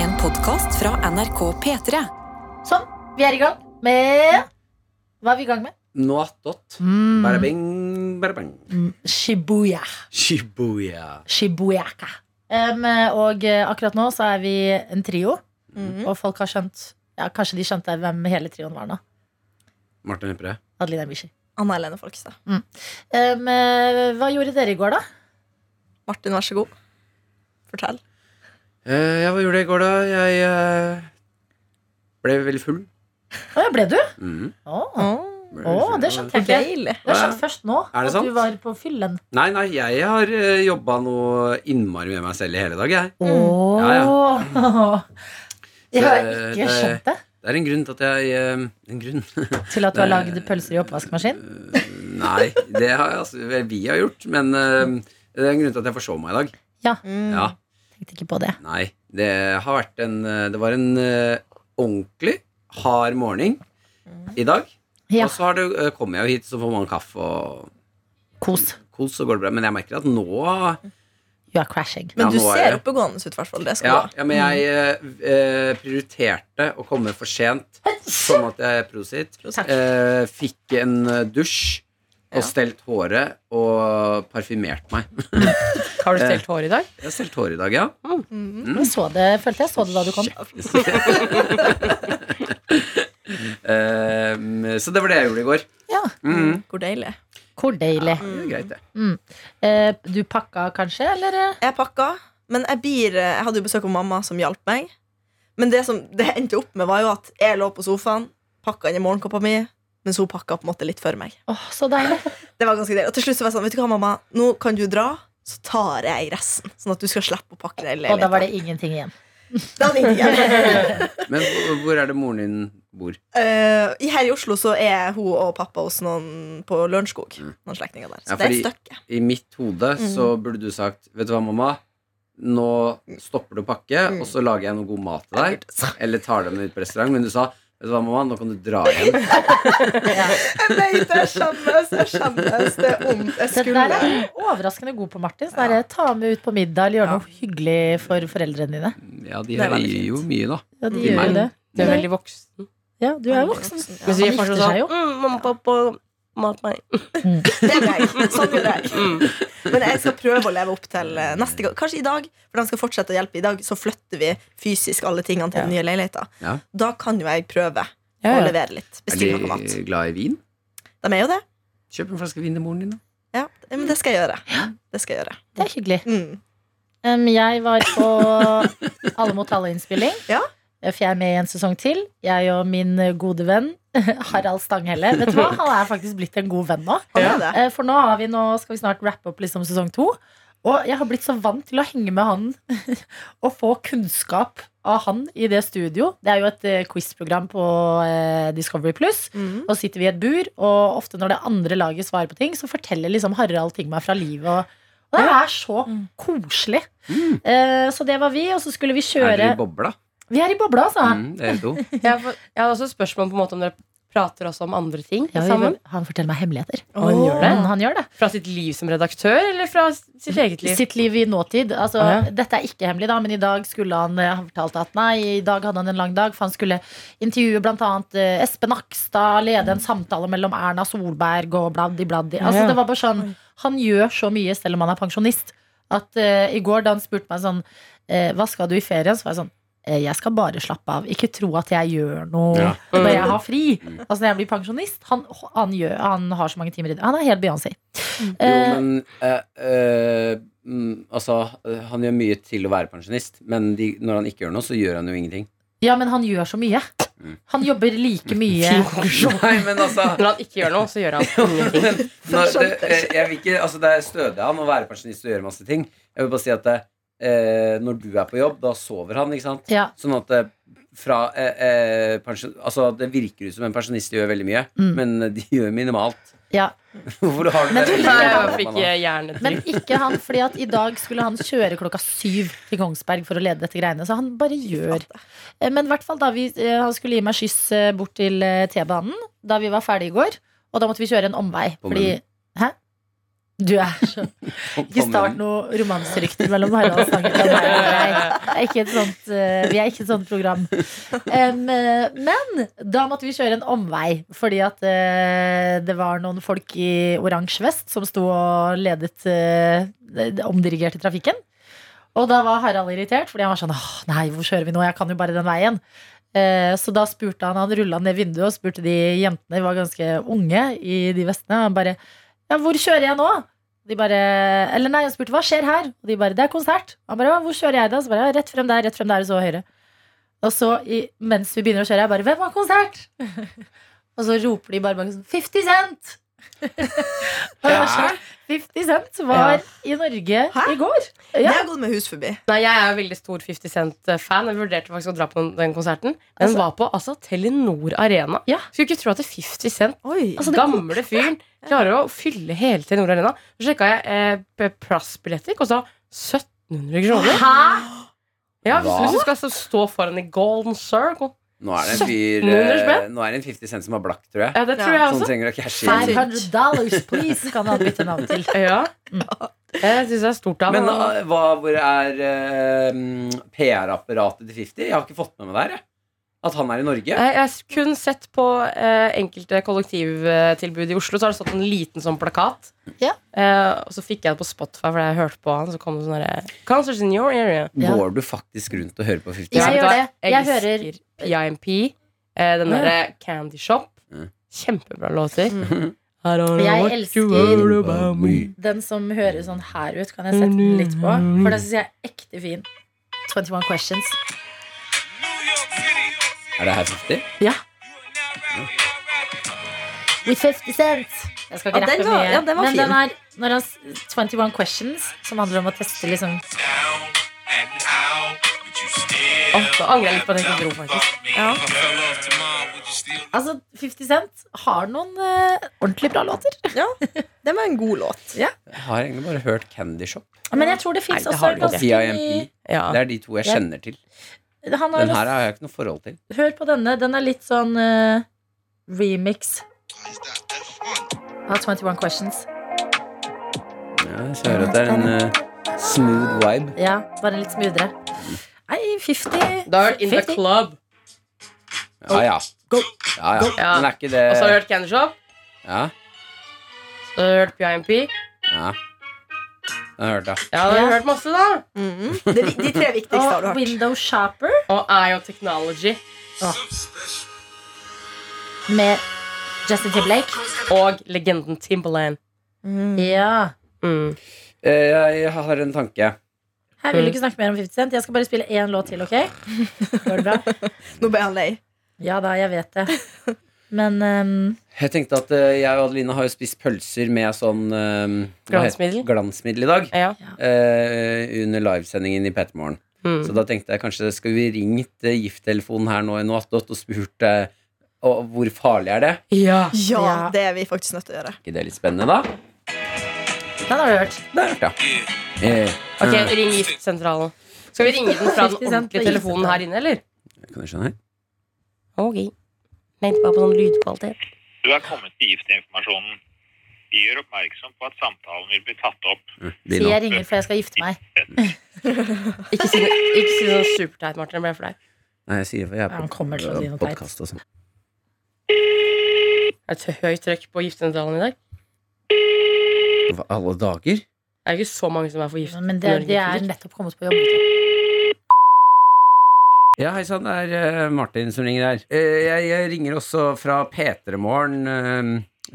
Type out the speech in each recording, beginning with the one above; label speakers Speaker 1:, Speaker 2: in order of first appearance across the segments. Speaker 1: En podkast fra NRK P3.
Speaker 2: Sånn, vi er i gang med Hva er vi i gang med?
Speaker 3: Noe attåt.
Speaker 2: Mm.
Speaker 3: Bare bing, bare bang.
Speaker 2: Mm, Shibuya.
Speaker 3: Shibuya.
Speaker 2: Shibuyaka. Em, og eh, akkurat nå så er vi en trio,
Speaker 3: Mhm.
Speaker 2: og folk har skjønt ja, Kanskje de skjønte hvem hele trioen var nå.
Speaker 3: Martin Lepperød.
Speaker 2: Adelina Bishi.
Speaker 4: Anna Helene Folkestad.
Speaker 2: Em, eh, hva gjorde dere i går, da?
Speaker 4: Martin, vær så god. Fortell.
Speaker 3: Eh, ja, hva gjorde jeg i går, da? Jeg eh, ble veldig full.
Speaker 2: Å ja, ble du?
Speaker 3: Mhm,
Speaker 2: Å,
Speaker 4: Åh,
Speaker 3: ble
Speaker 2: Å,
Speaker 3: veldig
Speaker 2: det
Speaker 3: full.
Speaker 2: skjønte jeg ikke.
Speaker 4: Deilig.
Speaker 2: Jeg har skjønt først nå
Speaker 3: Er det
Speaker 2: at
Speaker 3: sant?
Speaker 2: du var på fyllen.
Speaker 3: Nei, nei, jeg har uh, jobba noe innmari med meg selv i hele dag, jeg.
Speaker 2: Å!
Speaker 3: Ja,
Speaker 2: Jeg har
Speaker 3: Så, eh,
Speaker 2: ikke
Speaker 3: det-
Speaker 2: skjønt det.
Speaker 3: Det er en grunn til at jeg eh, En grunn?
Speaker 2: Til at du har
Speaker 3: det-
Speaker 2: lagd pølser i oppvaskmaskin.
Speaker 3: nei, det har jeg, altså, vel, vi har gjort, men eh, det er en grunn til at jeg forsov meg i dag.
Speaker 4: Mm.
Speaker 3: Ja,
Speaker 2: Tenkte ikke på det.
Speaker 3: nei. Det har vært en eh, Det var en eh, ordentlig hard morgen
Speaker 2: Mm.
Speaker 3: i dag.
Speaker 2: Ja,
Speaker 3: Og så har det, eh, kommer jeg jo hit, så får man kaffe og
Speaker 2: kos.
Speaker 3: kos, så går det bra. Men jeg merker at nå
Speaker 2: You are crashing.
Speaker 4: Men
Speaker 3: Ja,
Speaker 4: du
Speaker 3: nå er
Speaker 4: ser
Speaker 3: det-
Speaker 4: oppegående ut, i hvert fall. Det skal
Speaker 3: Ja,
Speaker 4: du ha.
Speaker 3: ja men jeg eh, eh, prioriterte å komme for sent, sånn at jeg prosit.
Speaker 4: Prosit.
Speaker 3: Eh, fikk en eh, dusj
Speaker 4: Ja.
Speaker 3: og stelt håret og parfymert meg.
Speaker 5: Har du
Speaker 2: Eh.
Speaker 5: stelt hår i dag?
Speaker 3: Jeg har stelt håret i dag, ja.
Speaker 4: Mm.
Speaker 2: Jeg så det, følte jeg så det da du kom.
Speaker 3: Eh, så det var det jeg gjorde i går.
Speaker 2: Ja.
Speaker 3: Mhm.
Speaker 4: Hvor deilig.
Speaker 2: Hvor deilig.
Speaker 3: Det er greit, det.
Speaker 2: Eh, du pakka kanskje, eller? eh?
Speaker 4: Jeg pakka, men jeg, blir, eh, jeg hadde jo besøk av mamma, som hjalp meg. Men det som det endte opp med, var jo at jeg lå på sofaen, pakka inn i morgenkåpa mi, mens hun pakka på en måte litt for meg.
Speaker 2: Åh, så deilig.
Speaker 4: Det var ganske deilig. Og til slutt så var jeg sånn, vet du hva, mamma, nå kan du dra, så tar jeg resten. Sånn at du skal slippe å pakke deg i
Speaker 2: Og da var
Speaker 4: leiligheten.
Speaker 2: det ingenting igjen.
Speaker 4: Da hadde jeg ikke gjort det.
Speaker 3: Men hvor- hvor er det moren din bor?
Speaker 4: Eh, i- her i Oslo så er hun og pappa hos noen på Lørenskog.
Speaker 3: Mm.
Speaker 4: Noen slektninger der. Så
Speaker 3: Ja,
Speaker 4: det er et
Speaker 3: fordi-
Speaker 4: stykke.
Speaker 3: I mitt hode
Speaker 4: Mhm.
Speaker 3: så burde du sagt Vet du hva, mamma? Nå stopper du å pakke,
Speaker 4: Mm.
Speaker 3: og så lager jeg noe god mat til
Speaker 4: Jeg
Speaker 3: deg.
Speaker 4: burde sagt-
Speaker 3: Eller tar dem ut på restaurant. Men du sa Vet du hva, mamma, nå kan du dra hjem.
Speaker 4: Jeg vet det! Jeg skjemmes! Jeg skjemmes. Det er
Speaker 2: Den
Speaker 4: vondt. Jeg
Speaker 2: der
Speaker 4: skulle
Speaker 2: er overraskende god på, Martin. Sånn der, ta med ut på middag eller gjøre noe hyggelig for foreldrene dine.
Speaker 3: Ja, de
Speaker 4: Det er
Speaker 3: gjør
Speaker 4: veldig
Speaker 3: jo mye, da.
Speaker 2: Ja, de
Speaker 3: Mm.
Speaker 2: gjør jo det.
Speaker 5: Du er veldig voksen.
Speaker 2: Ja, du er voksen.
Speaker 5: Men så
Speaker 2: Han
Speaker 5: sier
Speaker 2: gifter
Speaker 5: fortsatt
Speaker 2: seg jo.
Speaker 5: sånn mm, Mamma og pappa, mat meg.
Speaker 4: Det gjør jeg. Sånn gjør jeg.
Speaker 3: Mm.
Speaker 4: Men jeg skal prøve å leve opp til eh, neste gang. Kanskje i dag, for de skal fortsette å hjelpe i dag. Så flytter vi fysisk alle tingene til den nye leiligheten.
Speaker 3: Ja.
Speaker 4: Da kan jo jeg prøve
Speaker 5: Ja,
Speaker 4: å
Speaker 5: ja.
Speaker 4: levere litt.
Speaker 3: Er
Speaker 4: Bestille noe mat.
Speaker 3: de glad i vin?
Speaker 4: De er jo det.
Speaker 3: Kjøp en flaske vin til moren din, da.
Speaker 4: Ja, men det skal jeg gjøre. Det skal jeg gjøre.
Speaker 2: Det er hyggelig.
Speaker 4: Mm.
Speaker 2: Em, jeg var på Alle mot alle-innspilling.
Speaker 4: Ja.
Speaker 2: For jeg er med i en sesong til. Jeg og min gode venn Harald Stanghelle. Vet du hva? Han er faktisk blitt en god venn nå.
Speaker 4: Han er det.
Speaker 2: Eh, For nå, har vi, nå skal vi snart rappe opp liksom sesong to. Og jeg har blitt så vant til å henge med han og få kunnskap av han i det studio. Det er jo et eh, quiz-program på eh, Discovery Pluss.
Speaker 4: Mm.
Speaker 2: Og sitter vi i et bur, og ofte når det andre laget svarer på ting, så forteller liksom Harald ting meg fra livet. Og, og det er så koselig. Eh, så det var vi, og så skulle vi
Speaker 3: Mm. Er
Speaker 2: kjøre
Speaker 3: dere i bobla?
Speaker 2: Vi er i bobla, altså.
Speaker 4: Ah.
Speaker 3: Mm, dere to.
Speaker 5: Jeg har fått- jeg har også et spørsmål på en måte om dere prater også om andre ting
Speaker 2: Ja, vi,
Speaker 5: sammen.
Speaker 2: han forteller meg hemmeligheter.
Speaker 4: Å, han gjør
Speaker 2: Men han gjør det.
Speaker 5: Fra sitt liv som redaktør, eller fra sitt eget liv?
Speaker 2: Sitt liv i nåtid. Altså,
Speaker 5: Ah, ja.
Speaker 2: Dette er ikke hemmelig, da, men i dag skulle han eh, Han fortalte at nei, i dag hadde han en lang dag, for han skulle intervjue bl.a. Espen Nakstad, lede en samtale mellom Erna Solberg og bladdi bladdi. Altså,
Speaker 5: Ja.
Speaker 2: det var bare sånn, Han gjør så mye selv om han er pensjonist, at eh, i går da han spurte meg sånn eh, Hva skal du i ferien? Så var jeg sånn «Eh, jeg skal bare slappe av. Ikke tro at jeg gjør noe
Speaker 3: Ja.
Speaker 2: når jeg har fri. Altså Når jeg blir pensjonist. Han, han, gjør, han har så mange timer i det. Han er helt Beyoncé.
Speaker 3: Jo,
Speaker 2: Eh,
Speaker 3: men eh, eh, mm, Altså, eh, han gjør mye til å være pensjonist, men de, når han ikke gjør noe, så gjør han jo ingenting.
Speaker 2: Ja, men han gjør så mye.
Speaker 3: Mm.
Speaker 2: Han jobber like mye.
Speaker 5: Fin konklusjon.
Speaker 3: Nei, men altså
Speaker 5: Når han ikke gjør noe, så gjør han ingenting.
Speaker 3: Men når, det, eh, jeg vil ikke, altså det er stødig av han å være pensjonist og gjøre masse ting. Jeg vil bare si at det, eh, når du er på jobb, da sover han, ikke sant?
Speaker 2: Ja.
Speaker 3: Sånn at eh, fra, eh, eh, pensjon, altså det virker ut som en pensjonist gjør veldig mye,
Speaker 2: Mm.
Speaker 3: men eh, de gjør minimalt.
Speaker 2: Ja.
Speaker 3: Hvorfor har du
Speaker 2: Men
Speaker 3: det?
Speaker 2: du-
Speaker 5: Nei, jeg fikk hjernet
Speaker 2: Men ikke han, fordi at i dag skulle han kjøre klokka syv til Kongsberg for å lede dette greiene. Så han bare gjør. Eh, Men i hvert fall da vi, eh, han skulle gi meg skyss eh, bort til eh, T-banen da vi var ferdige i går. Og da måtte vi kjøre en omvei.
Speaker 3: På
Speaker 2: Fordi,
Speaker 3: munnen.
Speaker 2: Du er så Ikke start noe romanserykter mellom Harald og Sangetan. Nei, nei, nei. Det er ikke et sånt, eh, vi er ikke et sånt program. Em, eh, men da måtte vi kjøre en omvei, fordi at eh, det var noen folk i oransje vest som sto og ledet eh, det omdirigerte trafikken. Og da var Harald irritert, fordi han var sånn Åh, nei, hvor kjører vi nå? Jeg kan jo bare den veien. Eh, Så da spurte han, han rulla ned vinduet og spurte de jentene, de var ganske unge i de vestene, han bare Ja, hvor kjører jeg nå? De bare, eller nei, jeg spurte hva skjer her? Og de bare, det er konsert. Han bare, «Å, hvor kjører jeg da? Så bare, «Ja, rett frem der, rett frem der, og så høyre. Og så, i, mens vi begynner å kjøre, jeg bare, hvem har konsert? og så roper de bare bak sånn, 50 cent! Og jeg var sånn, 50 cent var i Norge
Speaker 4: Hæ?
Speaker 2: i går.
Speaker 4: Jeg
Speaker 2: Ja,
Speaker 4: har gått med hus forbi.
Speaker 5: Nei, jeg er jo veldig stor 50 Cent-fan. Jeg vurderte faktisk å dra på den konserten. Den
Speaker 2: Altså-
Speaker 5: var på altså, Telenor Arena.
Speaker 2: Ja.
Speaker 5: Skulle ikke tro at det 50 Cent,
Speaker 4: Oi.
Speaker 5: altså, gamle fyren, klarer å fylle hele Telenor Arena. Så sjekka jeg eh, p- Plus-billetter, kosta 1700 kroner.
Speaker 2: Hæ?
Speaker 5: Ja, hvis,
Speaker 3: Hva?
Speaker 5: hvis du skal altså, stå foran i Golden Circle.
Speaker 3: Nå er det en fyr
Speaker 5: 1700
Speaker 3: eh,
Speaker 5: spenn?
Speaker 3: Nå er det en 50 Cent som har blakk, tror jeg.
Speaker 5: Ja, det
Speaker 4: Ja.
Speaker 5: tror jeg
Speaker 2: altså.
Speaker 3: Som
Speaker 5: også.
Speaker 3: trenger å cashe inn.
Speaker 2: 500 dollars, please, kan han bytte navn til.
Speaker 5: Ja.
Speaker 2: Mm.
Speaker 5: Jeg syns det er stort av
Speaker 3: Men
Speaker 5: ham.
Speaker 3: eh, hva, hvor er eh, PR-apparatet til 50? Jeg har ikke fått med meg der, jeg. At han er i Norge.
Speaker 5: Jeg jeg har kun sett på eh, enkelte kollektivtilbud i Oslo, så har det stått en liten sånn plakat.
Speaker 2: Ja.
Speaker 5: Eh, og så fikk jeg det på Spotify fordi jeg hørte på han. Så kom det sånn derre Concerts in your area.
Speaker 2: Ja.
Speaker 3: Går du faktisk rundt og hører på 50
Speaker 2: Jeg
Speaker 5: Ja,
Speaker 3: Cent?
Speaker 5: vet
Speaker 2: gjør
Speaker 5: du hva?
Speaker 2: det. Jeg hører
Speaker 5: elsker PIMP. Eh, den derre Candy Shop.
Speaker 3: Mm.
Speaker 5: Kjempebra låter.
Speaker 3: Mm.
Speaker 5: I don't know
Speaker 2: Jeg
Speaker 5: what
Speaker 2: elsker-
Speaker 5: you worry about me.
Speaker 2: Den som høres sånn her ut, kan jeg sette den litt på. For den syns jeg er ekte fin. 21 Questions.
Speaker 3: Er det her 50?
Speaker 2: Ja. With 50 cent. Jeg skal
Speaker 4: Ja,
Speaker 2: ikke rappe
Speaker 4: den var-
Speaker 2: mye.
Speaker 4: ja, den var
Speaker 2: men
Speaker 4: fin.
Speaker 2: den er når han, s- 21 Questions, som handler om å teste liksom
Speaker 5: Åh, da angrer jeg litt på at jeg ikke dro, faktisk.
Speaker 4: Ja.
Speaker 2: Altså, 50 Cent har noen eh, ordentlig bra låter.
Speaker 4: Det var en god låt.
Speaker 3: Jeg har egentlig bare hørt Candy Shop.
Speaker 2: Men jeg tror det fins
Speaker 5: Nei, det
Speaker 2: også
Speaker 5: har
Speaker 3: Og
Speaker 5: du
Speaker 2: ganske mye-
Speaker 3: CIMP.
Speaker 5: Ja.
Speaker 3: Det er de to jeg
Speaker 2: Ja.
Speaker 3: kjenner til.
Speaker 2: Han har
Speaker 3: Den her
Speaker 2: også,
Speaker 3: har jeg ikke noe forhold til.
Speaker 2: Hør på denne. Den er litt sånn eh, remix av 21 Questions.
Speaker 3: Ja, så jeg hører at det er en eh, smooth vibe.
Speaker 2: Ja, bare litt smoothere. Nei, 50
Speaker 5: Da har jeg hørt In The
Speaker 2: 50.
Speaker 5: Club.
Speaker 3: Ja, ja.
Speaker 2: Go.
Speaker 3: ja, ja.
Speaker 5: Ja.
Speaker 3: Men er ikke det
Speaker 5: Og så har jeg hørt Candy Shop.
Speaker 3: Ja,
Speaker 5: Så har jeg hørt PIMP.
Speaker 3: ja. Den har jeg hørt, ja.
Speaker 5: Ja, da har jeg
Speaker 2: Ja.
Speaker 5: hørt masse, da.
Speaker 4: Mhm. Det er vi- de tre viktigste har du
Speaker 2: Og
Speaker 4: hørt.
Speaker 2: Window Shopper
Speaker 5: Og Eye of Technology
Speaker 2: med Justin Timberlake.
Speaker 5: og legenden Timberland.
Speaker 2: Ja.
Speaker 5: Mm.
Speaker 3: Eh, Jeg har en tanke.
Speaker 2: Her vil du ikke snakke mer om 50 Cent. Jeg skal bare spille én låt til, OK? Går det bra?
Speaker 4: Nå ble han lei.
Speaker 2: Ja da, jeg vet det. Men ehm,
Speaker 3: Jeg tenkte at eh, jeg og Adeline har jo spist pølser med sånn eh, hva heter-
Speaker 5: Glansmiddel.
Speaker 3: glansmiddel i dag.
Speaker 5: Ja.
Speaker 3: eh, under livesendingen i Petermorgen.
Speaker 5: Mm.
Speaker 3: Så da tenkte jeg kanskje skulle vi ringt eh, gifttelefonen her nå i Noatot og spurt eh, «Å, hvor farlig er det?
Speaker 5: ja.
Speaker 4: Ja,
Speaker 2: Ah, Ja.
Speaker 4: det er vi faktisk nødt til å gjøre.
Speaker 3: ikke det litt spennende, da?
Speaker 2: den har du hørt.
Speaker 3: Der, ja. Eh,
Speaker 5: Ok, ring giftsentralen. Skal vi ringe den fra den
Speaker 2: 50 cent
Speaker 5: ordentlige
Speaker 2: på
Speaker 5: telefonen her
Speaker 2: giftsentralen.
Speaker 5: inne, eller?
Speaker 3: Kan du skjønne?
Speaker 5: Ok. Mente bare på sånn lydkvalitet.
Speaker 6: Du er kommet til giftinformasjonen. Vi gjør oppmerksom på at samtalen vil bli tatt opp.
Speaker 3: Mm,
Speaker 2: Si
Speaker 3: begynn nå.
Speaker 2: jeg ringer, for jeg skal gifte meg.
Speaker 5: Ikke si, ikke si sånn superteit, Martin. Det ble for deg.
Speaker 3: Nei, jeg sier for jeg er
Speaker 2: Ja,
Speaker 3: på
Speaker 2: han kommer til å si noe teit.
Speaker 3: podcast og sånn.
Speaker 5: Det er et høyt trøkk på giftsentralen i dag.
Speaker 3: Hva, alle dager?
Speaker 5: Det er jo ikke så mange som er for gift.
Speaker 2: Men det,
Speaker 5: Norge,
Speaker 2: det er
Speaker 5: faktisk.
Speaker 2: nettopp kommet på jobb. vet du.
Speaker 3: Ja, hei sann, det er eh, Martin som ringer her. Eh, jeg, jeg ringer også fra P3 Morgen, eh,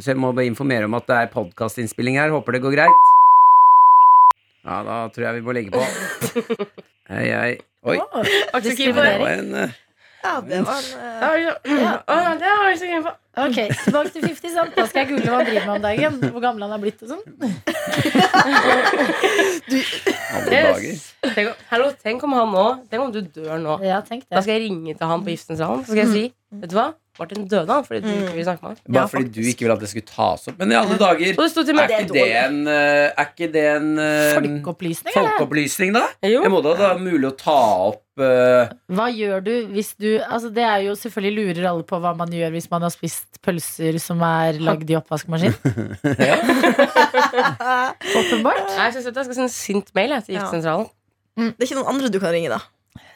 Speaker 3: så jeg må bare informere om at det er podkastinnspilling her. Håper det går greit. Ja, da tror jeg vi må legge på. Hei, hei. Oi.
Speaker 2: Å,
Speaker 5: Ok, ok,
Speaker 3: Det
Speaker 2: diskriminering.
Speaker 3: var en eh,
Speaker 4: Ja, det var en, eh,
Speaker 5: Ja, ja. Å, ja, det var jeg så gøy på.
Speaker 2: Ok, Tilbake til 50 Cent. Da skal jeg google hva han driver med om dagen. Hvor gammel han er blitt og sånn.
Speaker 3: alle dager.
Speaker 5: Yes. Tenk om- Hallo, tenk om han nå Tenk om du dør nå.
Speaker 2: Ja, tenk
Speaker 5: Da
Speaker 2: det.
Speaker 5: skal jeg ringe til han på giftsentralen. Så skal jeg si Vet du hva? Martin døde, han, fordi du
Speaker 4: Mm.
Speaker 5: ikke ville snakke med han.
Speaker 3: Bare
Speaker 4: Ja,
Speaker 3: fordi du ikke ville at det skulle tas opp. Men i alle dager,
Speaker 5: Og det sto til
Speaker 3: er
Speaker 5: meg
Speaker 4: det er
Speaker 3: ikke det en, eh, er ikke det en eh,
Speaker 2: Folkeopplysning, eller?
Speaker 3: folkeopplysning, da?
Speaker 5: Jo.
Speaker 3: Jeg må da det er mulig å ta opp eh,
Speaker 2: Hva gjør du hvis du Altså Det er jo selvfølgelig lurer alle på hva man gjør hvis man har spist pølser som er lagd i oppvaskmaskin. Åpenbart.
Speaker 5: Nei, Jeg synes at jeg skal sende sint mail jeg, til
Speaker 4: Ja.
Speaker 5: giftsentralen.
Speaker 4: Det er ikke noen andre du kan ringe, da.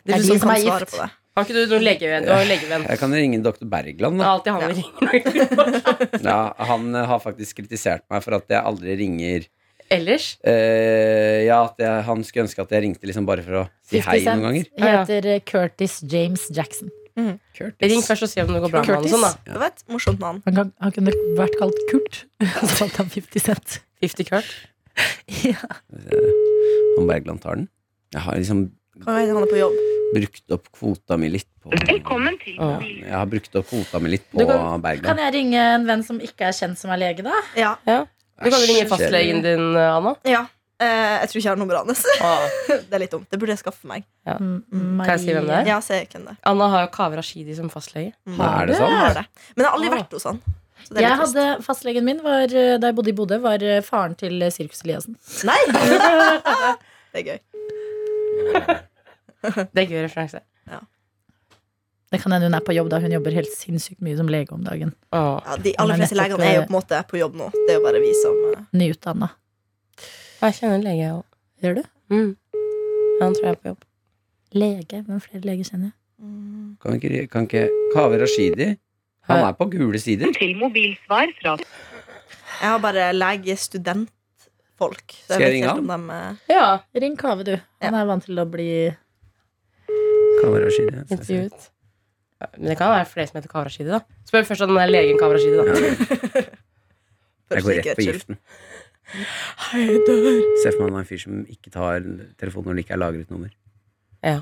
Speaker 2: Det er
Speaker 4: Du
Speaker 2: de
Speaker 4: som
Speaker 2: som
Speaker 4: kan
Speaker 2: er
Speaker 4: svare
Speaker 2: gift.
Speaker 4: på det.
Speaker 5: Har ikke du noen legevenn? Du har jo legevenn.
Speaker 3: Jeg kan ringe doktor Bergland,
Speaker 5: Det
Speaker 3: da.
Speaker 5: er alltid han vi ringer.
Speaker 3: Ja, han eh, har faktisk kritisert meg for at jeg aldri ringer
Speaker 5: Ellers
Speaker 3: eh, Ja, at jeg, han skulle ønske at jeg ringte liksom bare for å si hei
Speaker 2: 50
Speaker 3: noen
Speaker 2: Cent
Speaker 3: ganger.
Speaker 2: heter eh, Curtis James Jackson.
Speaker 5: ring først og si om det går bra med han. og
Speaker 2: Curtis.
Speaker 5: sånn da
Speaker 4: Du vet, Morsomt navn.
Speaker 2: Han, kan, han kunne vært kalt Kurt. Så kalte han 50 Cent.
Speaker 5: 50 Kurt.
Speaker 2: Ja.
Speaker 3: Om Bergland tar den. Jeg har liksom
Speaker 4: Kan hende han er på jobb.
Speaker 3: brukt opp kvota mi litt på Velkommen til
Speaker 5: Åh.
Speaker 3: Jeg har brukt opp kvota mi litt på
Speaker 5: Du kan-
Speaker 3: Bergland.
Speaker 2: Kan jeg ringe en venn som ikke er kjent som er lege, da?
Speaker 4: Ja.
Speaker 5: Du kan jo ringe
Speaker 3: Æsj,
Speaker 5: fastlegen din, Anna.
Speaker 4: ja. Eh, jeg tror ikke jeg har nummeret hans.
Speaker 5: Ah.
Speaker 4: det er litt dumt. Det burde jeg skaffe meg.
Speaker 2: Mm, Kan
Speaker 5: Kan jeg si hvem det er?
Speaker 4: Ja, se hvem det er.
Speaker 5: Anna har jo Kaveh Rashidi som fastlege.
Speaker 4: Mm.
Speaker 3: Nei, er det
Speaker 4: Jeg
Speaker 3: sånn?
Speaker 4: har det. Men jeg har aldri
Speaker 5: Ah.
Speaker 4: vært hos han. Så det er
Speaker 2: Jeg
Speaker 4: litt
Speaker 2: hadde, Fastlegen min var, eh, da jeg bodde i Bodø, var eh, faren til eh, Sirkus Eliassen.
Speaker 4: trist. Nei! det er gøy.
Speaker 5: Det er gøy referanse.
Speaker 2: Det kan hende hun er på jobb da hun jobber helt sinnssykt mye som lege om dagen.
Speaker 5: Åh.
Speaker 4: Ja, de
Speaker 2: Han er
Speaker 4: aller fleste
Speaker 2: nettopp, eh,
Speaker 4: legene er jo på en måte på jobb nå. Det er jo bare vi som eh,
Speaker 2: Nyutdanna.
Speaker 5: Jeg kjenner en lege, jeg òg.
Speaker 2: Gjør du?
Speaker 5: Mm. Ja, Han tror jeg er på jobb.
Speaker 2: Lege. Hvem flere leger kjenner jeg?
Speaker 4: mm.
Speaker 3: Kan ikke, kan ikke Kaveh Rashidi? Han er på gule sider.
Speaker 4: Jeg har bare legestudentfolk. så
Speaker 3: Skal jeg
Speaker 4: vet
Speaker 3: ringe
Speaker 4: ikke helt om dem, eh,
Speaker 5: Ja,
Speaker 2: Ring Kave, du. Han er vant til å bli
Speaker 3: Kaveh Rashidi. jeg skal se.
Speaker 5: intervjuet. Ja, Men det kan være flere som heter Kaveh Rashidi, da. Spør først om den er legen Kaveh Rashidi, da.
Speaker 4: for
Speaker 3: Jeg går rett
Speaker 4: sikkerhets
Speaker 3: på
Speaker 4: skyld.
Speaker 3: giften. Se for meg han er en fyr som ikke tar telefonen når det ikke er lagret nummer.
Speaker 5: Ja.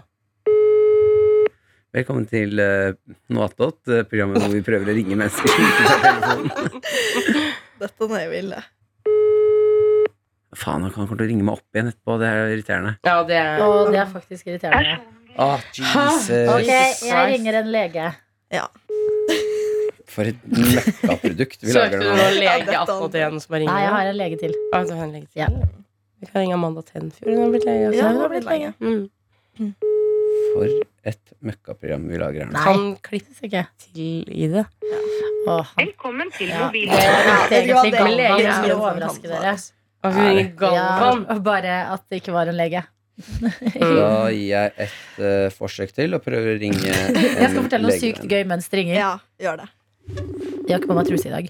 Speaker 3: Velkommen til eh, Noe attåt, eh, programmet hvor vi prøver å ringe mennesker som ikke tar telefonen.
Speaker 4: Dette er jo ille.
Speaker 3: Faen, han kommer til å ringe meg opp igjen etterpå. Det er irriterende.
Speaker 5: Ja, det er
Speaker 2: Å, det er faktisk irriterende.
Speaker 3: Ah,
Speaker 5: Hæ?
Speaker 2: Ok,
Speaker 3: Jesus.
Speaker 2: jeg ringer en lege.
Speaker 3: For et møkkaprodukt vi
Speaker 5: Søkte
Speaker 3: lager
Speaker 5: du
Speaker 3: nå.
Speaker 5: nå
Speaker 4: Ja,
Speaker 5: lege
Speaker 4: dette-
Speaker 5: 1881 som er
Speaker 2: Nei, jeg
Speaker 5: ringer?
Speaker 2: har en lege til.
Speaker 5: Ah, du har en lege til.
Speaker 2: Ja.
Speaker 5: Vi kan ringe Amanda Tenfjord. Hun har blitt lege.
Speaker 4: Ja,
Speaker 5: altså.
Speaker 4: hun har blitt lege.
Speaker 5: Mm.
Speaker 3: For et møkkaprogram vi lager her nå.
Speaker 2: Nei.
Speaker 5: Kan klippe
Speaker 2: Synes ikke.
Speaker 5: til i det.
Speaker 2: Å, han
Speaker 7: Velkommen til
Speaker 2: Ja.
Speaker 7: mobilen.
Speaker 2: Det er egentlig
Speaker 4: Ja, det er-
Speaker 2: Galvan
Speaker 5: leger
Speaker 2: som
Speaker 5: er
Speaker 2: skulle
Speaker 4: jo-
Speaker 2: overraske dere.
Speaker 5: Og vi ringer Galvan.
Speaker 2: Ja, bare at det ikke var en lege.
Speaker 3: Da gir jeg et eh, forsøk til og prøver å ringe en
Speaker 2: Jeg skal fortelle noe
Speaker 3: legevenn.
Speaker 2: sykt gøy mens det ringer.
Speaker 4: Ja, gjør det.
Speaker 2: Jeg har ikke på meg truse i dag.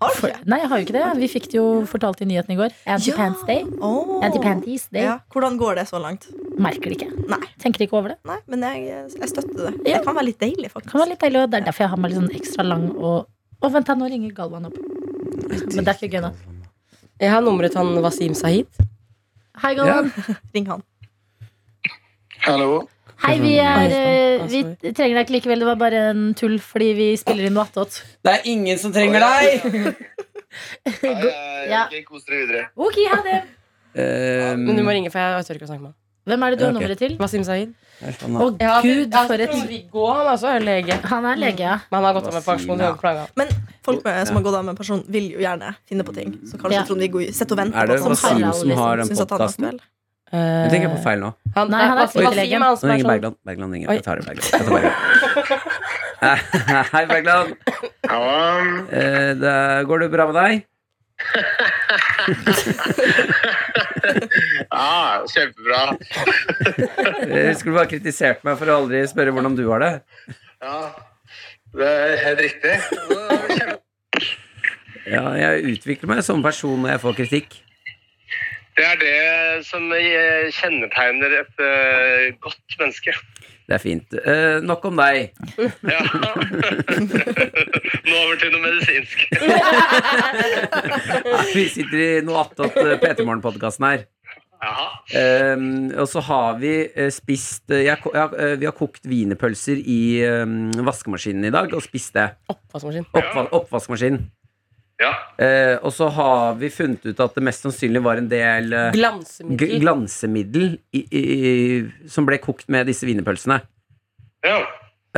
Speaker 4: Har du
Speaker 2: For,
Speaker 4: det?
Speaker 2: nei, jeg har jo ikke det. Vi fikk det jo fortalt i nyheten i går. Anti-pants day.
Speaker 4: Åh.
Speaker 2: Anti-panties day.
Speaker 4: Ja. Hvordan går det så langt?
Speaker 2: Merker det ikke.
Speaker 4: Nei,
Speaker 2: Tenker ikke over det.
Speaker 4: nei men jeg, jeg støtter det.
Speaker 2: Ja.
Speaker 4: Det kan være litt deilig, faktisk.
Speaker 2: Kan være litt deilig, og det er derfor jeg har meg litt sånn ekstra lang og Å, vent, da, nå ringer Galvan opp. Men det er ikke gøy, da.
Speaker 5: Jeg har nummeret til han Wasim Sahid.
Speaker 2: Hei, Galvan.
Speaker 4: Ring han.
Speaker 8: Hallo.
Speaker 2: Hei, vi er eh,
Speaker 5: Oi,
Speaker 2: Vi
Speaker 5: sorry.
Speaker 2: trenger deg ikke likevel. Det var bare en tull fordi vi spiller inn noe attåt.
Speaker 3: Det er ingen som trenger deg!
Speaker 8: Hei,
Speaker 2: Go-
Speaker 8: hei.
Speaker 2: Ja.
Speaker 8: Ok, kos dere videre.
Speaker 2: Ok, ha det.
Speaker 3: Ehm,
Speaker 5: Men du må ringe, for jeg tør ikke å snakke med han.
Speaker 2: Hvem er det du har
Speaker 3: Ja, ok.
Speaker 2: nummeret til?
Speaker 5: Wasim Sahid.
Speaker 2: Å, gud,
Speaker 5: jeg
Speaker 2: for
Speaker 5: tror
Speaker 2: et
Speaker 5: Viggo han også er lege.
Speaker 2: Han er lege, ja.
Speaker 5: Men han har gått av med
Speaker 3: Wasim,
Speaker 5: pensjon.
Speaker 3: ja.
Speaker 5: Ja. Plaga.
Speaker 4: Men folk med, som har gått av med pensjon, vil jo gjerne finne på ting. Så kanskje
Speaker 2: Ja.
Speaker 4: Trond-Viggo sitter og
Speaker 3: Er
Speaker 4: venter
Speaker 3: det
Speaker 4: på at
Speaker 2: Wasim
Speaker 3: Wasim
Speaker 2: Harald,
Speaker 3: som
Speaker 2: liksom,
Speaker 3: har den
Speaker 4: syns at han er
Speaker 3: podkasten?
Speaker 4: aktuell.
Speaker 3: Nå tenker jeg på feil nå.
Speaker 5: Eh, Han,
Speaker 2: Nei, han er
Speaker 5: Wasim-
Speaker 2: ikke
Speaker 5: Wasim
Speaker 2: lege.
Speaker 5: er han
Speaker 3: Nå
Speaker 5: som er
Speaker 3: ringer
Speaker 5: sånn
Speaker 3: Bergland. Bergland ringer.
Speaker 5: Oi.
Speaker 3: Jeg tar det, Bergland. Jeg tar Bergland. Hei, Bergland.
Speaker 8: Hallo.
Speaker 3: Eh, det, går det bra med deg?
Speaker 8: Ja, ah, kjempebra.
Speaker 3: Eh, Skulle du bare kritisert meg for å aldri spørre hvordan du har det.
Speaker 8: Ja, det er helt riktig.
Speaker 3: Ja, jeg utvikler meg som person når jeg får kritikk.
Speaker 8: Det er det som eh, kjennetegner et eh, godt menneske.
Speaker 3: Det er fint. Eh, nok om deg.
Speaker 8: Ja. Nå over til noe medisinsk.
Speaker 3: Vi sitter i noe attåt eh, P3 Morgen-podkasten her.
Speaker 8: Jaha.
Speaker 3: Eh, og så har vi eh, spist eh, jeg, ko- ja, eh, Vi har kokt wienerpølser i eh, vaskemaskinen i dag og spist det.
Speaker 5: oppvaskmaskin.
Speaker 3: Oppva oppvaskmaskinen.
Speaker 8: Ja.
Speaker 3: Eh, og så har vi funnet ut at det mest sannsynlig var en del eh, gl-
Speaker 5: Glansemiddel.
Speaker 3: glansemiddel i, i, i, som ble kokt med disse wienerpølsene.
Speaker 8: ja.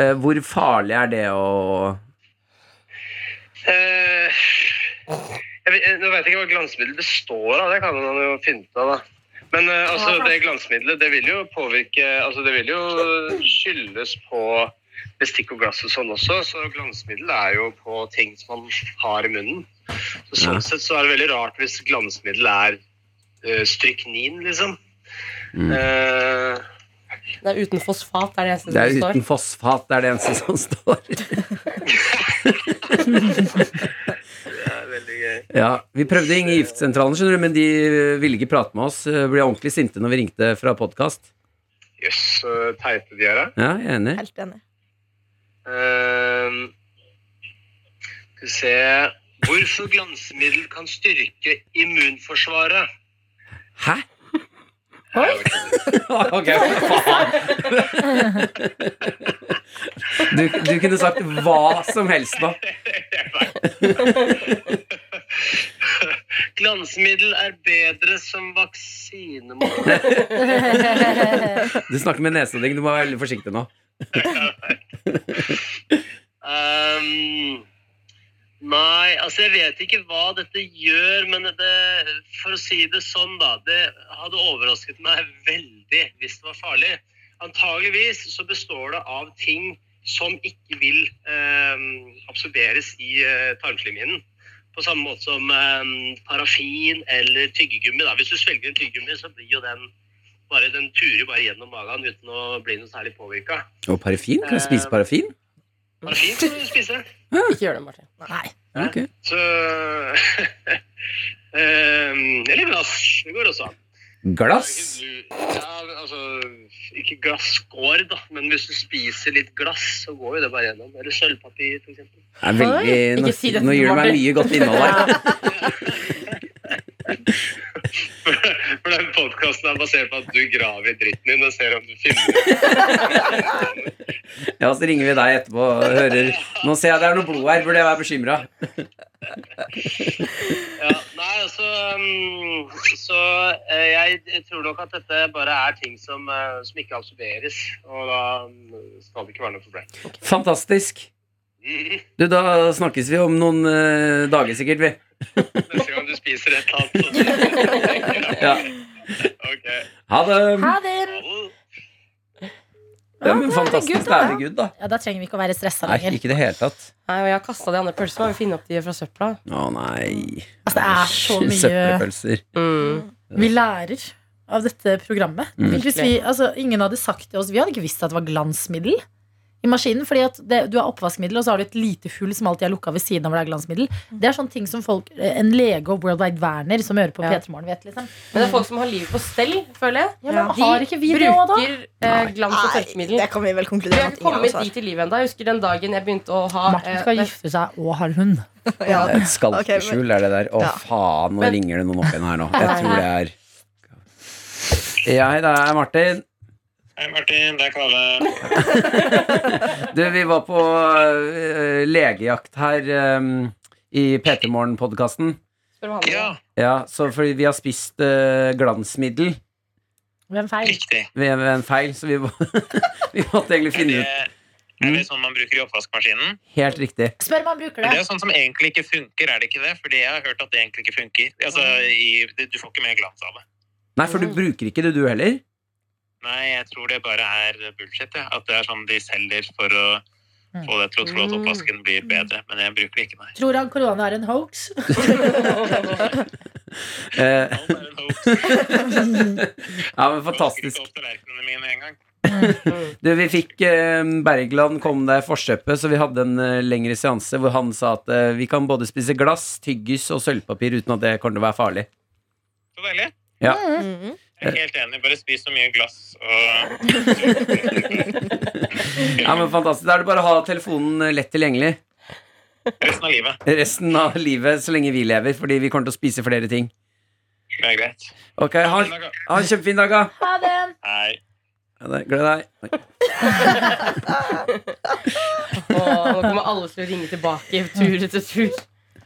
Speaker 3: Eh, Hvor farlig er det å
Speaker 8: Eh, jeg, vet- jeg- nå vet jeg ikke hva glansmiddel består av, det kan man jo finne ut av, da. Men eh, altså, det glansmiddelet det vil jo påvirke altså, Det vil jo skyldes på bestikk og glass og sånn også, så glansmiddel er jo på ting som man har i munnen. Så, sånn sett så er det veldig rart hvis glansmiddel er eh, stryknin, liksom. Eh,
Speaker 5: Det er uten fosfat, det er det eneste
Speaker 3: Det er
Speaker 5: som står.
Speaker 3: uten fosfat, det er det eneste som står.
Speaker 8: det er veldig gøy.
Speaker 3: Ja, Vi prøvde å ringe giftsentralen, skjønner du, men de eh, ville ikke prate med oss. eh, Ble ordentlig sinte når vi ringte fra podkast.
Speaker 8: Jøss, så teite de er, da.
Speaker 3: Ja, jeg er enig.
Speaker 4: Helt enig.
Speaker 8: Ehm, Skal vi se Hvorfor glansmiddel kan styrke immunforsvaret?
Speaker 3: Hæ? Ah, Ok, for faen. Du, du kunne sagt hva som helst nå.
Speaker 8: Glansmiddel er bedre som vaksine mot
Speaker 3: Du snakker med nesa di, du må være veldig forsiktig nå.
Speaker 8: Ehm, Nei, altså jeg vet ikke hva dette gjør, men det, for å si det sånn, da Det hadde overrasket meg veldig hvis det var farlig. Antageligvis så består det av ting som ikke vil ehm, absorberes i eh, tarmslimhinnen. På samme måte som ehm, parafin eller tyggegummi. Da. Hvis du svelger en tyggegummi, så blir jo den bare, den turer bare gjennom magen uten å bli noe særlig påvirka.
Speaker 3: Og parafin? Kan jeg spise parafin?
Speaker 8: Parafin kan du spise.
Speaker 5: Ikke gjør det, Martin.
Speaker 2: Nei.
Speaker 3: Ok.
Speaker 8: Så Ehm, Eller glass. Det går også an.
Speaker 3: Glass?
Speaker 8: Ja, men altså Ikke glass går, da, men hvis du spiser litt glass, så går jo det bare gjennom. Eller sølvpapir, for eksempel.
Speaker 3: Det er veldig, nå,
Speaker 2: Ikke si dette til
Speaker 3: nå gir du meg
Speaker 2: Martin.
Speaker 3: mye godt innhold her.
Speaker 8: For den podkasten er basert på at du graver i dritten din og ser om du finner
Speaker 3: Ja, så ringer vi deg etterpå og hører Nå ser jeg det er noe blod her, burde jeg være bekymra?
Speaker 8: Ja, nei, altså um, Så eh, jeg tror nok at dette bare er ting som, eh, som ikke absorberes. Og da um, skal det ikke være noe problem.
Speaker 3: Fantastisk.
Speaker 8: Mhm.
Speaker 3: Du, da snakkes vi om noen eh, dager sikkert, vi.
Speaker 8: Neste gang du spiser et eller annet.
Speaker 3: Ja.
Speaker 8: Ok.
Speaker 3: Ha det.
Speaker 2: Ha det!
Speaker 3: Ja, men fantastisk.
Speaker 2: herregud, da.
Speaker 3: Herregud, da.
Speaker 2: Ja, da trenger vi ikke å være stressa
Speaker 3: Nei,
Speaker 2: lenger.
Speaker 3: ikke i det hele tatt.
Speaker 5: Nei, og jeg har kasta de andre pølsene. Vi finner opp de fra søpla.
Speaker 3: Å nei.
Speaker 2: Altså, det er så mye
Speaker 3: Søppelpølser.
Speaker 2: Mm. Vi lærer av dette programmet.
Speaker 3: Mm.
Speaker 2: Tenk Hvis vi, altså, ingen hadde sagt det oss. Vi hadde ikke visst at det var glansmiddel i maskinen. fordi at det, du har oppvaskmiddel, og så har du et lite hull som alltid er lukka ved siden av hvor det er glansmiddel.
Speaker 5: Mm.
Speaker 2: Det er sånne ting som folk, eh, en lege og World Wide Werner som hører på
Speaker 5: Ja.
Speaker 2: P3 Morgen, vet. liksom.
Speaker 5: Men det er folk som har livet på stell, føler jeg.
Speaker 2: Ja, men har ikke vi det også, da?
Speaker 5: bruker eh, glans og
Speaker 4: Nei,
Speaker 5: tørkemiddel.
Speaker 4: det kan vi vel
Speaker 5: Vi
Speaker 4: konkludere
Speaker 5: har
Speaker 4: med. at
Speaker 5: ikke
Speaker 4: ingen av
Speaker 5: kommet
Speaker 4: oss har.
Speaker 5: dit i livet ennå. Jeg husker den dagen jeg begynte å ha
Speaker 2: altså. Martin
Speaker 5: eh,
Speaker 2: skal
Speaker 5: det-
Speaker 2: gifte seg og har hund.
Speaker 4: Ja.
Speaker 3: Et skalkeskjul er det der. Å,
Speaker 4: Ja.
Speaker 3: faen, nå
Speaker 5: Men-
Speaker 3: ringer det noen opp igjen her nå. Jeg tror det er Ja, hei, det er Martin.
Speaker 6: Hei, Martin. Det er Kalle.
Speaker 3: Du, vi var på øh, legejakt her øhm, i PT Morgen-podkasten.
Speaker 5: Spør om han-
Speaker 6: Ja,
Speaker 3: Ja, så fordi vi har spist øh, glansmiddel
Speaker 2: Hvem feil?
Speaker 6: riktig.
Speaker 3: ved, ved en feil, så vi, må- vi måtte egentlig
Speaker 6: Er
Speaker 3: finne
Speaker 6: det,
Speaker 3: ut
Speaker 6: er det sånn man bruker i oppvaskmaskinen?
Speaker 3: helt riktig.
Speaker 2: Spør om han bruker
Speaker 6: Men det
Speaker 2: det.
Speaker 6: er jo sånn som egentlig ikke funker, er det ikke det? Fordi jeg har hørt at det egentlig ikke funker. Altså, i, du- du får ikke mer glans av det.
Speaker 3: Nei, for du bruker ikke det, du heller?
Speaker 6: Nei, jeg tror det bare er bullshit, jeg. At det er sånn de selger for å få deg til å tro at oppvasken blir bedre. Men jeg bruker det ikke, nei.
Speaker 2: Tror han korona er en hoax?
Speaker 3: Eh,
Speaker 6: Alt er en hoax. Jeg
Speaker 3: ja, men
Speaker 6: vasker
Speaker 3: fantastisk.
Speaker 6: ikke opp tallerkenene mine en gang.
Speaker 3: Du, vi fikk eh, Bergland kom deg i forkjøpet, så vi hadde en eh, lengre seanse hvor han sa at eh, vi kan både spise glass, tyggis og sølvpapir uten at det kommer til å være farlig.
Speaker 6: Så deilig.
Speaker 4: Mhm.
Speaker 6: Jeg er helt enig. Bare spis så mye glass og
Speaker 3: Ja, men fantastisk. Da er det bare å ha telefonen eh, lett tilgjengelig.
Speaker 6: resten av livet.
Speaker 3: resten av livet så lenge vi lever, fordi vi kommer til å spise flere ting.
Speaker 6: Det er greit.
Speaker 3: Ok, Ha, ha en kjempefin dag, da.
Speaker 2: Ha det!
Speaker 6: Hei.
Speaker 3: Ha det. Gled deg. Oi.
Speaker 5: Åh, Nå kommer alle til å ringe tilbake tur etter tur.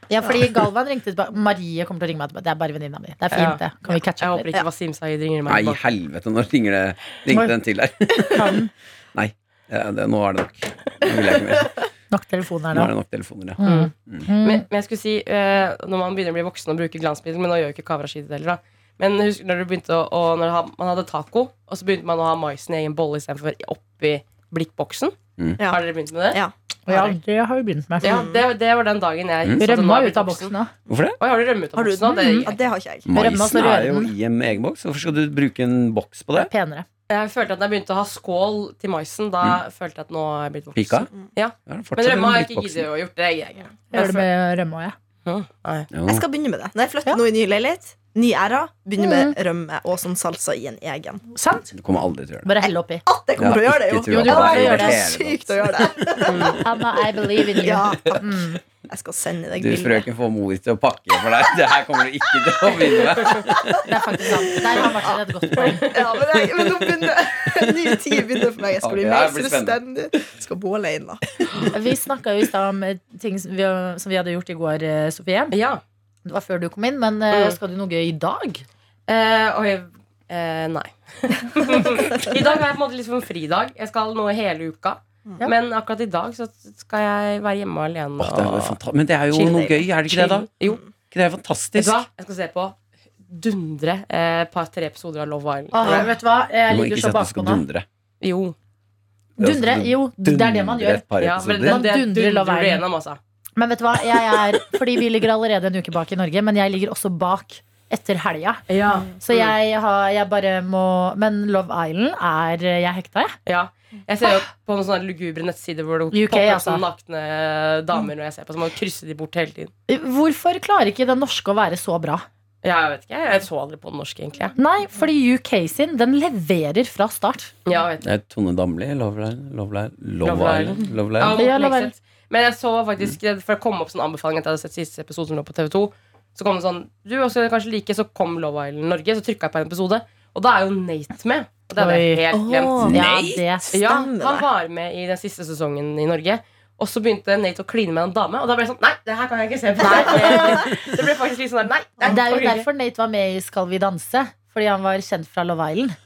Speaker 2: Ja, fordi Galvan ringte tilbake. Marie kommer til å ringe meg tilbake. Det er bare venninna mi. Det er
Speaker 5: Ja.
Speaker 2: fint, det. Kan vi catche
Speaker 5: Jeg
Speaker 2: opp
Speaker 5: håper
Speaker 2: litt?
Speaker 5: ikke Wasim Sayed ringer meg
Speaker 3: Nei,
Speaker 5: tilbake.
Speaker 3: helvete, nå ringer det ringte den til her.
Speaker 2: Kan-
Speaker 3: Nei, eh, det, nå er det nok. Nå vil jeg ikke mer.
Speaker 2: Nok telefoner nå.
Speaker 3: Nå er det nok telefoner, ja.
Speaker 2: Mm.
Speaker 5: Men,
Speaker 2: Mm.
Speaker 5: men jeg skulle si, eh, når man begynner å bli voksen og bruke glansmiddel Men nå gjør jo ikke Kavra Shidi det heller, da. Men husk når, du begynte å, og når ha- man hadde taco, og så begynte man å ha maisen i egen bolle istedenfor oppi blikkboksen?
Speaker 3: Mm.
Speaker 4: Ja.
Speaker 5: Har dere begynt med det?
Speaker 4: Ja.
Speaker 2: Ja, det har vi begynt med.
Speaker 5: Ja, det, det var den dagen jeg
Speaker 3: Mm.
Speaker 5: satte den
Speaker 2: Rømma
Speaker 5: i
Speaker 2: ut av
Speaker 5: boksen.
Speaker 2: boksen nå.
Speaker 3: Hvorfor det?
Speaker 5: Oi, har du rømmet av
Speaker 4: Har du-
Speaker 5: boksen? da? Det
Speaker 4: Ja,
Speaker 5: gikk
Speaker 4: det har ikke jeg.
Speaker 2: Rømme og så
Speaker 3: Maisen er jo
Speaker 2: røre den.
Speaker 3: i en egen boks. Hvorfor skal du bruke en boks på det?
Speaker 2: Penere.
Speaker 5: Jeg følte at da jeg begynte å ha skål til maisen, da
Speaker 2: Mm.
Speaker 5: følte jeg at nå er jeg blitt voksen.
Speaker 3: Pika?
Speaker 5: Ja.
Speaker 3: Ja, det er
Speaker 5: Mm. Men
Speaker 3: fortsatt
Speaker 5: rømma har jeg
Speaker 3: en
Speaker 5: ikke
Speaker 3: blikkboksen.
Speaker 5: giddet å gjort. Det jeg greier ikke.
Speaker 2: Jeg gjør det med rømme òg, jeg.
Speaker 5: Hm, nei.
Speaker 3: Jo.
Speaker 4: Jeg skal begynne med det. Når jeg flytter nå i ny leilighet, ny æra, begynner
Speaker 2: Mm.
Speaker 4: med rømme og sånn salsa i en egen.
Speaker 2: Sant?
Speaker 3: Du kommer aldri til å gjøre det.
Speaker 2: Bare helle oppi.
Speaker 4: At jeg kommer til å gjøre det, jo!
Speaker 3: Ikke tro
Speaker 2: Jo,
Speaker 3: at
Speaker 2: du
Speaker 3: det
Speaker 2: kommer
Speaker 3: er
Speaker 2: til å gjøre
Speaker 4: Det er
Speaker 3: irriterende.
Speaker 4: sykt å gjøre det.
Speaker 2: Anna, I believe in you.
Speaker 4: Ja, takk.
Speaker 2: Mm.
Speaker 4: Jeg skal sende deg
Speaker 3: Du,
Speaker 4: bilde.
Speaker 3: frøken, får mor til å pakke for deg. Det her kommer du ikke til å begynne med.
Speaker 2: Det er faktisk sant. Der har Martin et godt poeng.
Speaker 4: Ja, men, jeg, men nå begynner en ny tid begynner for meg. Jeg skal bli
Speaker 3: Ok,
Speaker 4: mer
Speaker 3: det blir
Speaker 4: selvstendig. Jeg Skal bo alene.
Speaker 2: Vi snakka jo i stad om eh, ting som vi, som vi hadde gjort i går, eh, Sofie.
Speaker 5: Ja.
Speaker 2: Det var før du kom inn, men eh,
Speaker 5: Mm.
Speaker 2: skal du noe gøy i dag?
Speaker 5: Eh, oi, eh, nei. I dag har jeg på en måte liksom en fridag. Jeg skal nå hele uka.
Speaker 2: Mm. Ja.
Speaker 5: Men akkurat i dag så skal jeg være hjemme alene.
Speaker 3: Åh, det er jo
Speaker 5: og
Speaker 3: fanta- Men det er jo
Speaker 5: Chill,
Speaker 3: noe
Speaker 5: baby.
Speaker 3: gøy, er det ikke det, da?
Speaker 5: chill. Jo,
Speaker 3: Ikke det er
Speaker 5: vet du
Speaker 3: fantastisk?
Speaker 5: hva? Jeg skal se på dundre eh, par-tre episoder av Love Island.
Speaker 2: Ah, vet du hva?
Speaker 3: Du
Speaker 2: Jeg
Speaker 3: må
Speaker 2: ligger
Speaker 3: ikke si
Speaker 2: så
Speaker 3: at du skal
Speaker 2: bakpå nå.
Speaker 3: dundre.
Speaker 5: Jo.
Speaker 2: Dundre? Jo, det er det man gjør.
Speaker 3: altså, Dundre et par
Speaker 5: Ja, men
Speaker 3: episoder.
Speaker 2: Man dundrer Love
Speaker 5: du
Speaker 2: Island.
Speaker 5: gjennom, altså.
Speaker 2: Men vet du hva? Jeg er, fordi vi ligger allerede en uke bak i Norge, men jeg ligger også bak etter helga.
Speaker 5: Ja.
Speaker 2: Så jeg, har, jeg bare må Men Love Island er eh, jeg hekta, jeg.
Speaker 5: ja. Jeg ser jo på noen sånne lugubre nettsider hvor det
Speaker 2: UK,
Speaker 5: popper opp
Speaker 2: altså.
Speaker 5: sånne nakne damer når jeg ser på, så må jeg krysse de bort hele tiden.
Speaker 2: Hvorfor klarer ikke den norske å være så bra?
Speaker 5: Ja, jeg vet ikke, jeg så aldri på den norske, egentlig. jeg.
Speaker 2: Nei, fordi UK sin, den leverer fra start.
Speaker 5: Ja, jeg vet
Speaker 3: Det er Eh, Tone Damli, Love Island, Love Island, Love
Speaker 5: Love
Speaker 3: Island. Love
Speaker 5: Ja,
Speaker 3: Island.
Speaker 5: Morten
Speaker 2: Ja, la
Speaker 5: Hegseth. Liksom. Men jeg så faktisk For det kom opp sånn anbefaling etter at jeg hadde sett siste episode som lå på TV2. Så kom det sånn Du også kanskje like Så kom Love Island Norge. Så trykka jeg på en episode, og da er jo Nate med. Og det hadde jeg
Speaker 2: Oi.
Speaker 5: helt glemt.
Speaker 4: Åh.
Speaker 2: Ja,
Speaker 3: Nei.
Speaker 2: det.
Speaker 5: Ja,
Speaker 4: stemmer
Speaker 5: han
Speaker 4: det.
Speaker 5: var med i den siste sesongen i Norge. Og så begynte Nate å kline med en dame, og da ble jeg sånn Nei, det her kan jeg ikke se på. det ble faktisk litt sånn der, Nei, nei,
Speaker 2: det er jo
Speaker 5: orker ikke.
Speaker 2: derfor Nate var med i Skal vi danse. Fordi han var kjent fra Love Island.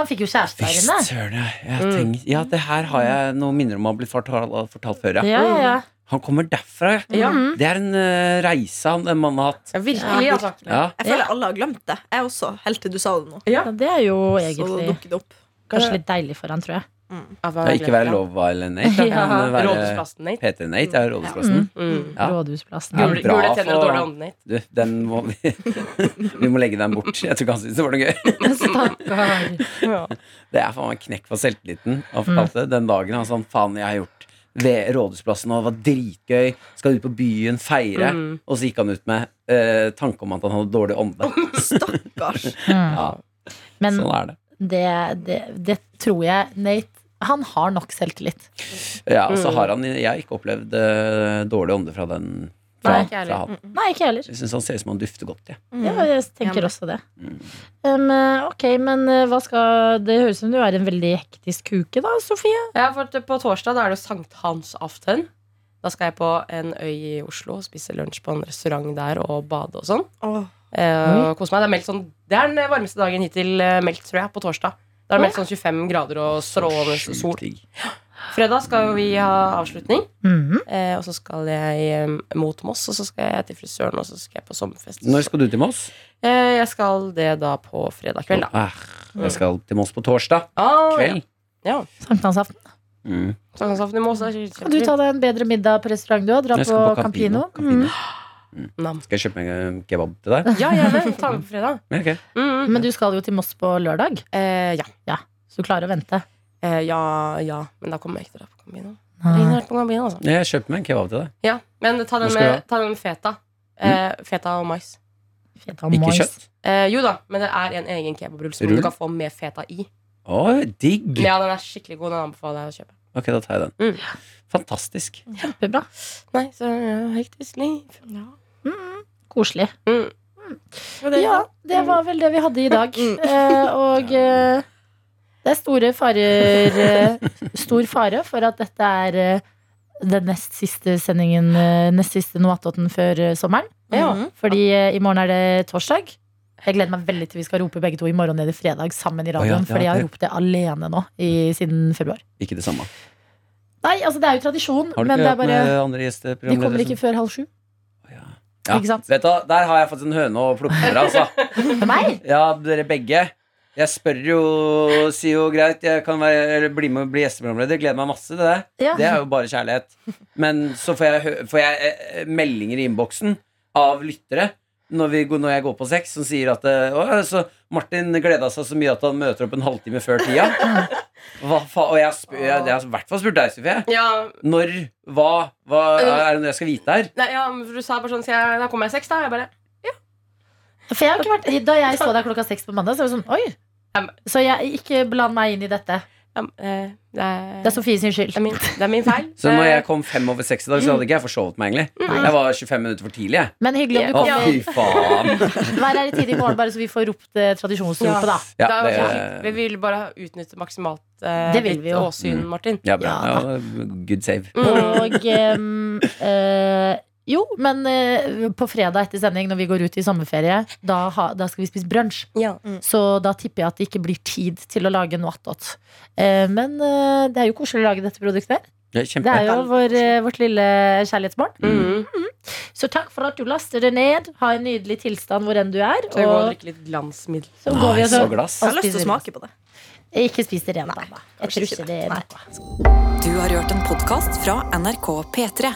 Speaker 2: Han fikk jo kjæreste
Speaker 3: Fy
Speaker 2: der inne.
Speaker 3: søren, ja. Jeg tenk- ja. Det her har jeg noen minner om å ha blitt fortalt, fortalt før, ja.
Speaker 2: Ja, ja, ja.
Speaker 3: Han kommer derfra, ja.
Speaker 5: Ja,
Speaker 2: Mm.
Speaker 3: Det er en eh, reise han den mannen har hatt.
Speaker 5: ja, virkelig, altså.
Speaker 3: Ja.
Speaker 4: Jeg føler alle har glemt det. Jeg også, helt til du sa det nå.
Speaker 5: Ja.
Speaker 2: Ja, det er jo
Speaker 4: Så
Speaker 2: egentlig
Speaker 4: dukket det opp.
Speaker 2: kanskje litt deilig for han, tror jeg.
Speaker 5: Ja, hva
Speaker 3: Det er ikke være
Speaker 5: glemt,
Speaker 3: Love Island-Nate.
Speaker 5: Ja.
Speaker 3: eh, Være
Speaker 5: Rådhusplassen, Nate.
Speaker 3: P3-Nate er Rådhusplassen.
Speaker 5: Mm.
Speaker 3: Ja.
Speaker 2: Rådhusplassen.
Speaker 3: Ja.
Speaker 5: Gule,
Speaker 3: bra
Speaker 5: gule tenner og
Speaker 3: for-
Speaker 5: dårlig ånde, Nate.
Speaker 3: Du, den må vi Vi må legge den bort. Jeg tror ikke han syntes det var noe gøy.
Speaker 2: Stakkar.
Speaker 5: Ja.
Speaker 3: Det er faen meg knekk for selvtilliten. Han fortalte den dagen han sa faen, jeg har gjort ved Rådhusplassen, og det var dritgøy. Skal ut på byen, feire.
Speaker 5: Mm.
Speaker 3: Og så gikk han ut med eh, tanke om at han hadde dårlig ånde.
Speaker 4: Stakkars.
Speaker 2: Mm.
Speaker 3: Ja,
Speaker 2: Men
Speaker 3: sånn er det.
Speaker 2: det, det, det tror jeg Nate Han har nok selvtillit.
Speaker 3: Ja, og så
Speaker 5: Mm.
Speaker 3: har han Jeg har ikke opplevd eh, dårlig ånde fra den. Fra,
Speaker 5: Nei, Mm. ikke heller.
Speaker 3: fra han.
Speaker 2: Nei, ikke heller.
Speaker 3: Jeg syns han ser ut som han dufter godt. Ja.
Speaker 2: Mm. Ja, jeg tenker
Speaker 4: Enig.
Speaker 2: også det.
Speaker 3: Mm.
Speaker 2: Um, ok, men uh, hva skal Det høres ut som du er en veldig hektisk uke, da, Sofie.
Speaker 5: Ja, for at på torsdag da er det sankthansaften. Da skal jeg på en øy i Oslo og spise lunsj på en restaurant der og bade og sånn.
Speaker 4: Åh.
Speaker 5: Eh, og kose meg. Det er, meldt sånn, det er den varmeste dagen hittil eh, meldt, tror jeg, på torsdag. Da er det meldt sånn 25 grader og strålende
Speaker 3: Sjukt
Speaker 5: sol.
Speaker 3: digg.
Speaker 5: Fredag skal jo vi ha avslutning,
Speaker 3: Mm.
Speaker 2: Mhm.
Speaker 5: eh, og så skal jeg eh, mot Moss, og så skal jeg til frisøren, og så skal jeg på sommerfest.
Speaker 3: Når skal du til Moss?
Speaker 5: Eh, jeg skal det da på fredag kveld, da.
Speaker 3: Ah, jeg skal til Moss på torsdag
Speaker 5: Ah,
Speaker 3: kveld.
Speaker 5: Ja.
Speaker 2: Sankthansaften.
Speaker 3: Mm.
Speaker 5: ja. Sankthansaften i Moss. det er
Speaker 2: Kan du ta deg en bedre middag på restaurant du har? Dra
Speaker 3: Jeg
Speaker 2: på,
Speaker 3: skal på
Speaker 2: Campino.
Speaker 3: Campino. Campino.
Speaker 5: Nam.
Speaker 3: Skal jeg kjøpe meg en kebab til deg?
Speaker 5: Ja, gjerne. Ta med på fredag.
Speaker 3: Ja, ok.
Speaker 5: Mm,
Speaker 2: Mm.
Speaker 5: mm.
Speaker 2: Men du skal jo til Moss på lørdag,
Speaker 5: Eh, ja.
Speaker 2: så du klarer å vente.
Speaker 5: Eh, ja, ja, men da kommer jeg ikke til å dra på Gambino. Ingen
Speaker 2: Nei.
Speaker 5: har vært på Gambino altså.
Speaker 3: Ja, Jeg kjøper meg en kebab til deg.
Speaker 5: ja, Men ta den
Speaker 3: Hva skal Mm. du ha?
Speaker 5: med, ta den med feta. Eh, feta og mais.
Speaker 2: Feta
Speaker 3: Ikke
Speaker 2: mais.
Speaker 3: kjøtt?
Speaker 5: Eh, jo da, men det er en egen kebabrull som
Speaker 3: Rull?
Speaker 5: du kan få med feta i.
Speaker 3: Å, digg!
Speaker 5: Ja, den er skikkelig god. Den anbefaler jeg å kjøpe.
Speaker 3: Ok, da tar jeg den.
Speaker 5: Mm.
Speaker 3: Fantastisk.
Speaker 2: Kjempebra.
Speaker 5: Nei, så ja, hektisk liv.
Speaker 2: Koselig.
Speaker 5: Mm.
Speaker 2: Ja, det
Speaker 3: Mm.
Speaker 2: var vel det vi hadde i dag.
Speaker 4: Mm.
Speaker 2: Eh, og eh, det er store farer eh, Stor fare for at dette er eh, den nest siste sendingen, eh, nest siste Noatoten før eh, sommeren.
Speaker 5: Ja.
Speaker 4: Mhm.
Speaker 2: Fordi eh, i morgen er det torsdag. Jeg gleder meg veldig til vi skal rope begge to i morgen eller fredag sammen i
Speaker 3: Å ja,
Speaker 2: radioen.
Speaker 3: ja,
Speaker 2: fordi jeg har
Speaker 3: det-
Speaker 2: ropt det alene nå i, siden februar.
Speaker 3: Ikke det samme.
Speaker 2: Nei, altså det er jo tradisjon,
Speaker 3: Har du
Speaker 2: men
Speaker 3: ikke
Speaker 2: det er
Speaker 3: hørt
Speaker 2: bare
Speaker 3: med andre
Speaker 2: De kommer
Speaker 3: gjesteprogramledere?
Speaker 2: ikke før halv sju.
Speaker 3: Ja.
Speaker 2: Ikke sant?
Speaker 3: Vet du, hva, Der har jeg fått en høne å plukke med, altså.
Speaker 2: For meg?
Speaker 3: Ja, dere begge. Jeg spør jo sier jo greit, jeg kan være, eller bli med og bli gjesteprogramleder. Gleder meg masse til det.
Speaker 2: Ja.
Speaker 3: Det er jo bare kjærlighet. Men så får jeg, hø- får jeg eh, meldinger i innboksen av lyttere når, vi, går- når jeg går på sex, som sier at eh, «Å, så Martin gleda seg så mye at han møter opp en halvtime før tida. Hva faen? Og jeg, spør, jeg, jeg har i hvert fall spurt deg, Sofie.
Speaker 5: Ja,
Speaker 3: Når? Hva? hva er det noe jeg skal vite her?
Speaker 5: nei, ja, men for du sa bare sånn skal jeg, Da kommer jeg seks, da. Jeg bare
Speaker 2: For jeg har ikke vært, da jeg så deg klokka seks på mandag, så var det sånn Oi!
Speaker 5: Em.
Speaker 2: Så jeg ikke bland meg inn i dette.
Speaker 5: ja, men, eh, det, er,
Speaker 2: Det er Sofie sin skyld.
Speaker 5: det er min, det er min feil.
Speaker 3: Så når
Speaker 5: Eh,
Speaker 3: jeg kom fem over seks i dag, så hadde ikke jeg forsovet meg, egentlig. Jeg var 25 minutter for tidlig, jeg.
Speaker 2: Men hyggelig om du
Speaker 3: Å,
Speaker 5: Ja.
Speaker 2: kommer.
Speaker 3: fy faen.
Speaker 2: Vær her i tide i morgen, bare så vi får ropt eh, tradisjonsropet, da.
Speaker 3: Ja,
Speaker 5: da, Vi
Speaker 3: det, er-
Speaker 5: vil bare utnytte maksimalt eh,
Speaker 2: Det vil vi
Speaker 5: ditt
Speaker 2: jo.
Speaker 5: åsyn,
Speaker 3: Mm.
Speaker 5: Martin.
Speaker 3: ja, bra. Ja, good save.
Speaker 5: Mm.
Speaker 2: Og em, eh, jo, men eh, på fredag etter sending, når vi går ut i sommerferie, da, ha, da skal vi spise brunsj.
Speaker 5: Ja.
Speaker 2: Så da tipper jeg at det ikke blir tid til å lage noe attåt. Eh, men eh, det er jo koselig å lage dette produktet. her.
Speaker 3: Det er
Speaker 2: Det
Speaker 3: kjempe.
Speaker 2: er jo vår, eh, vårt lille kjærlighetsbarn.
Speaker 5: Mm.
Speaker 2: Så takk for at du laster det ned. Ha en nydelig tilstand hvor enn du er.
Speaker 5: Så jeg går og
Speaker 2: Og
Speaker 5: drikker litt glansmiddel.
Speaker 2: så går vi og
Speaker 3: så
Speaker 2: så
Speaker 3: glass.
Speaker 4: Jeg har lyst til å smake på det.
Speaker 2: Ikke spis det rene, da. Jeg tror
Speaker 4: kanskje
Speaker 2: ikke
Speaker 4: ikke
Speaker 2: det
Speaker 4: det.
Speaker 2: er
Speaker 4: Nei.
Speaker 2: noe.
Speaker 1: Du har hørt en podkast fra NRK P3.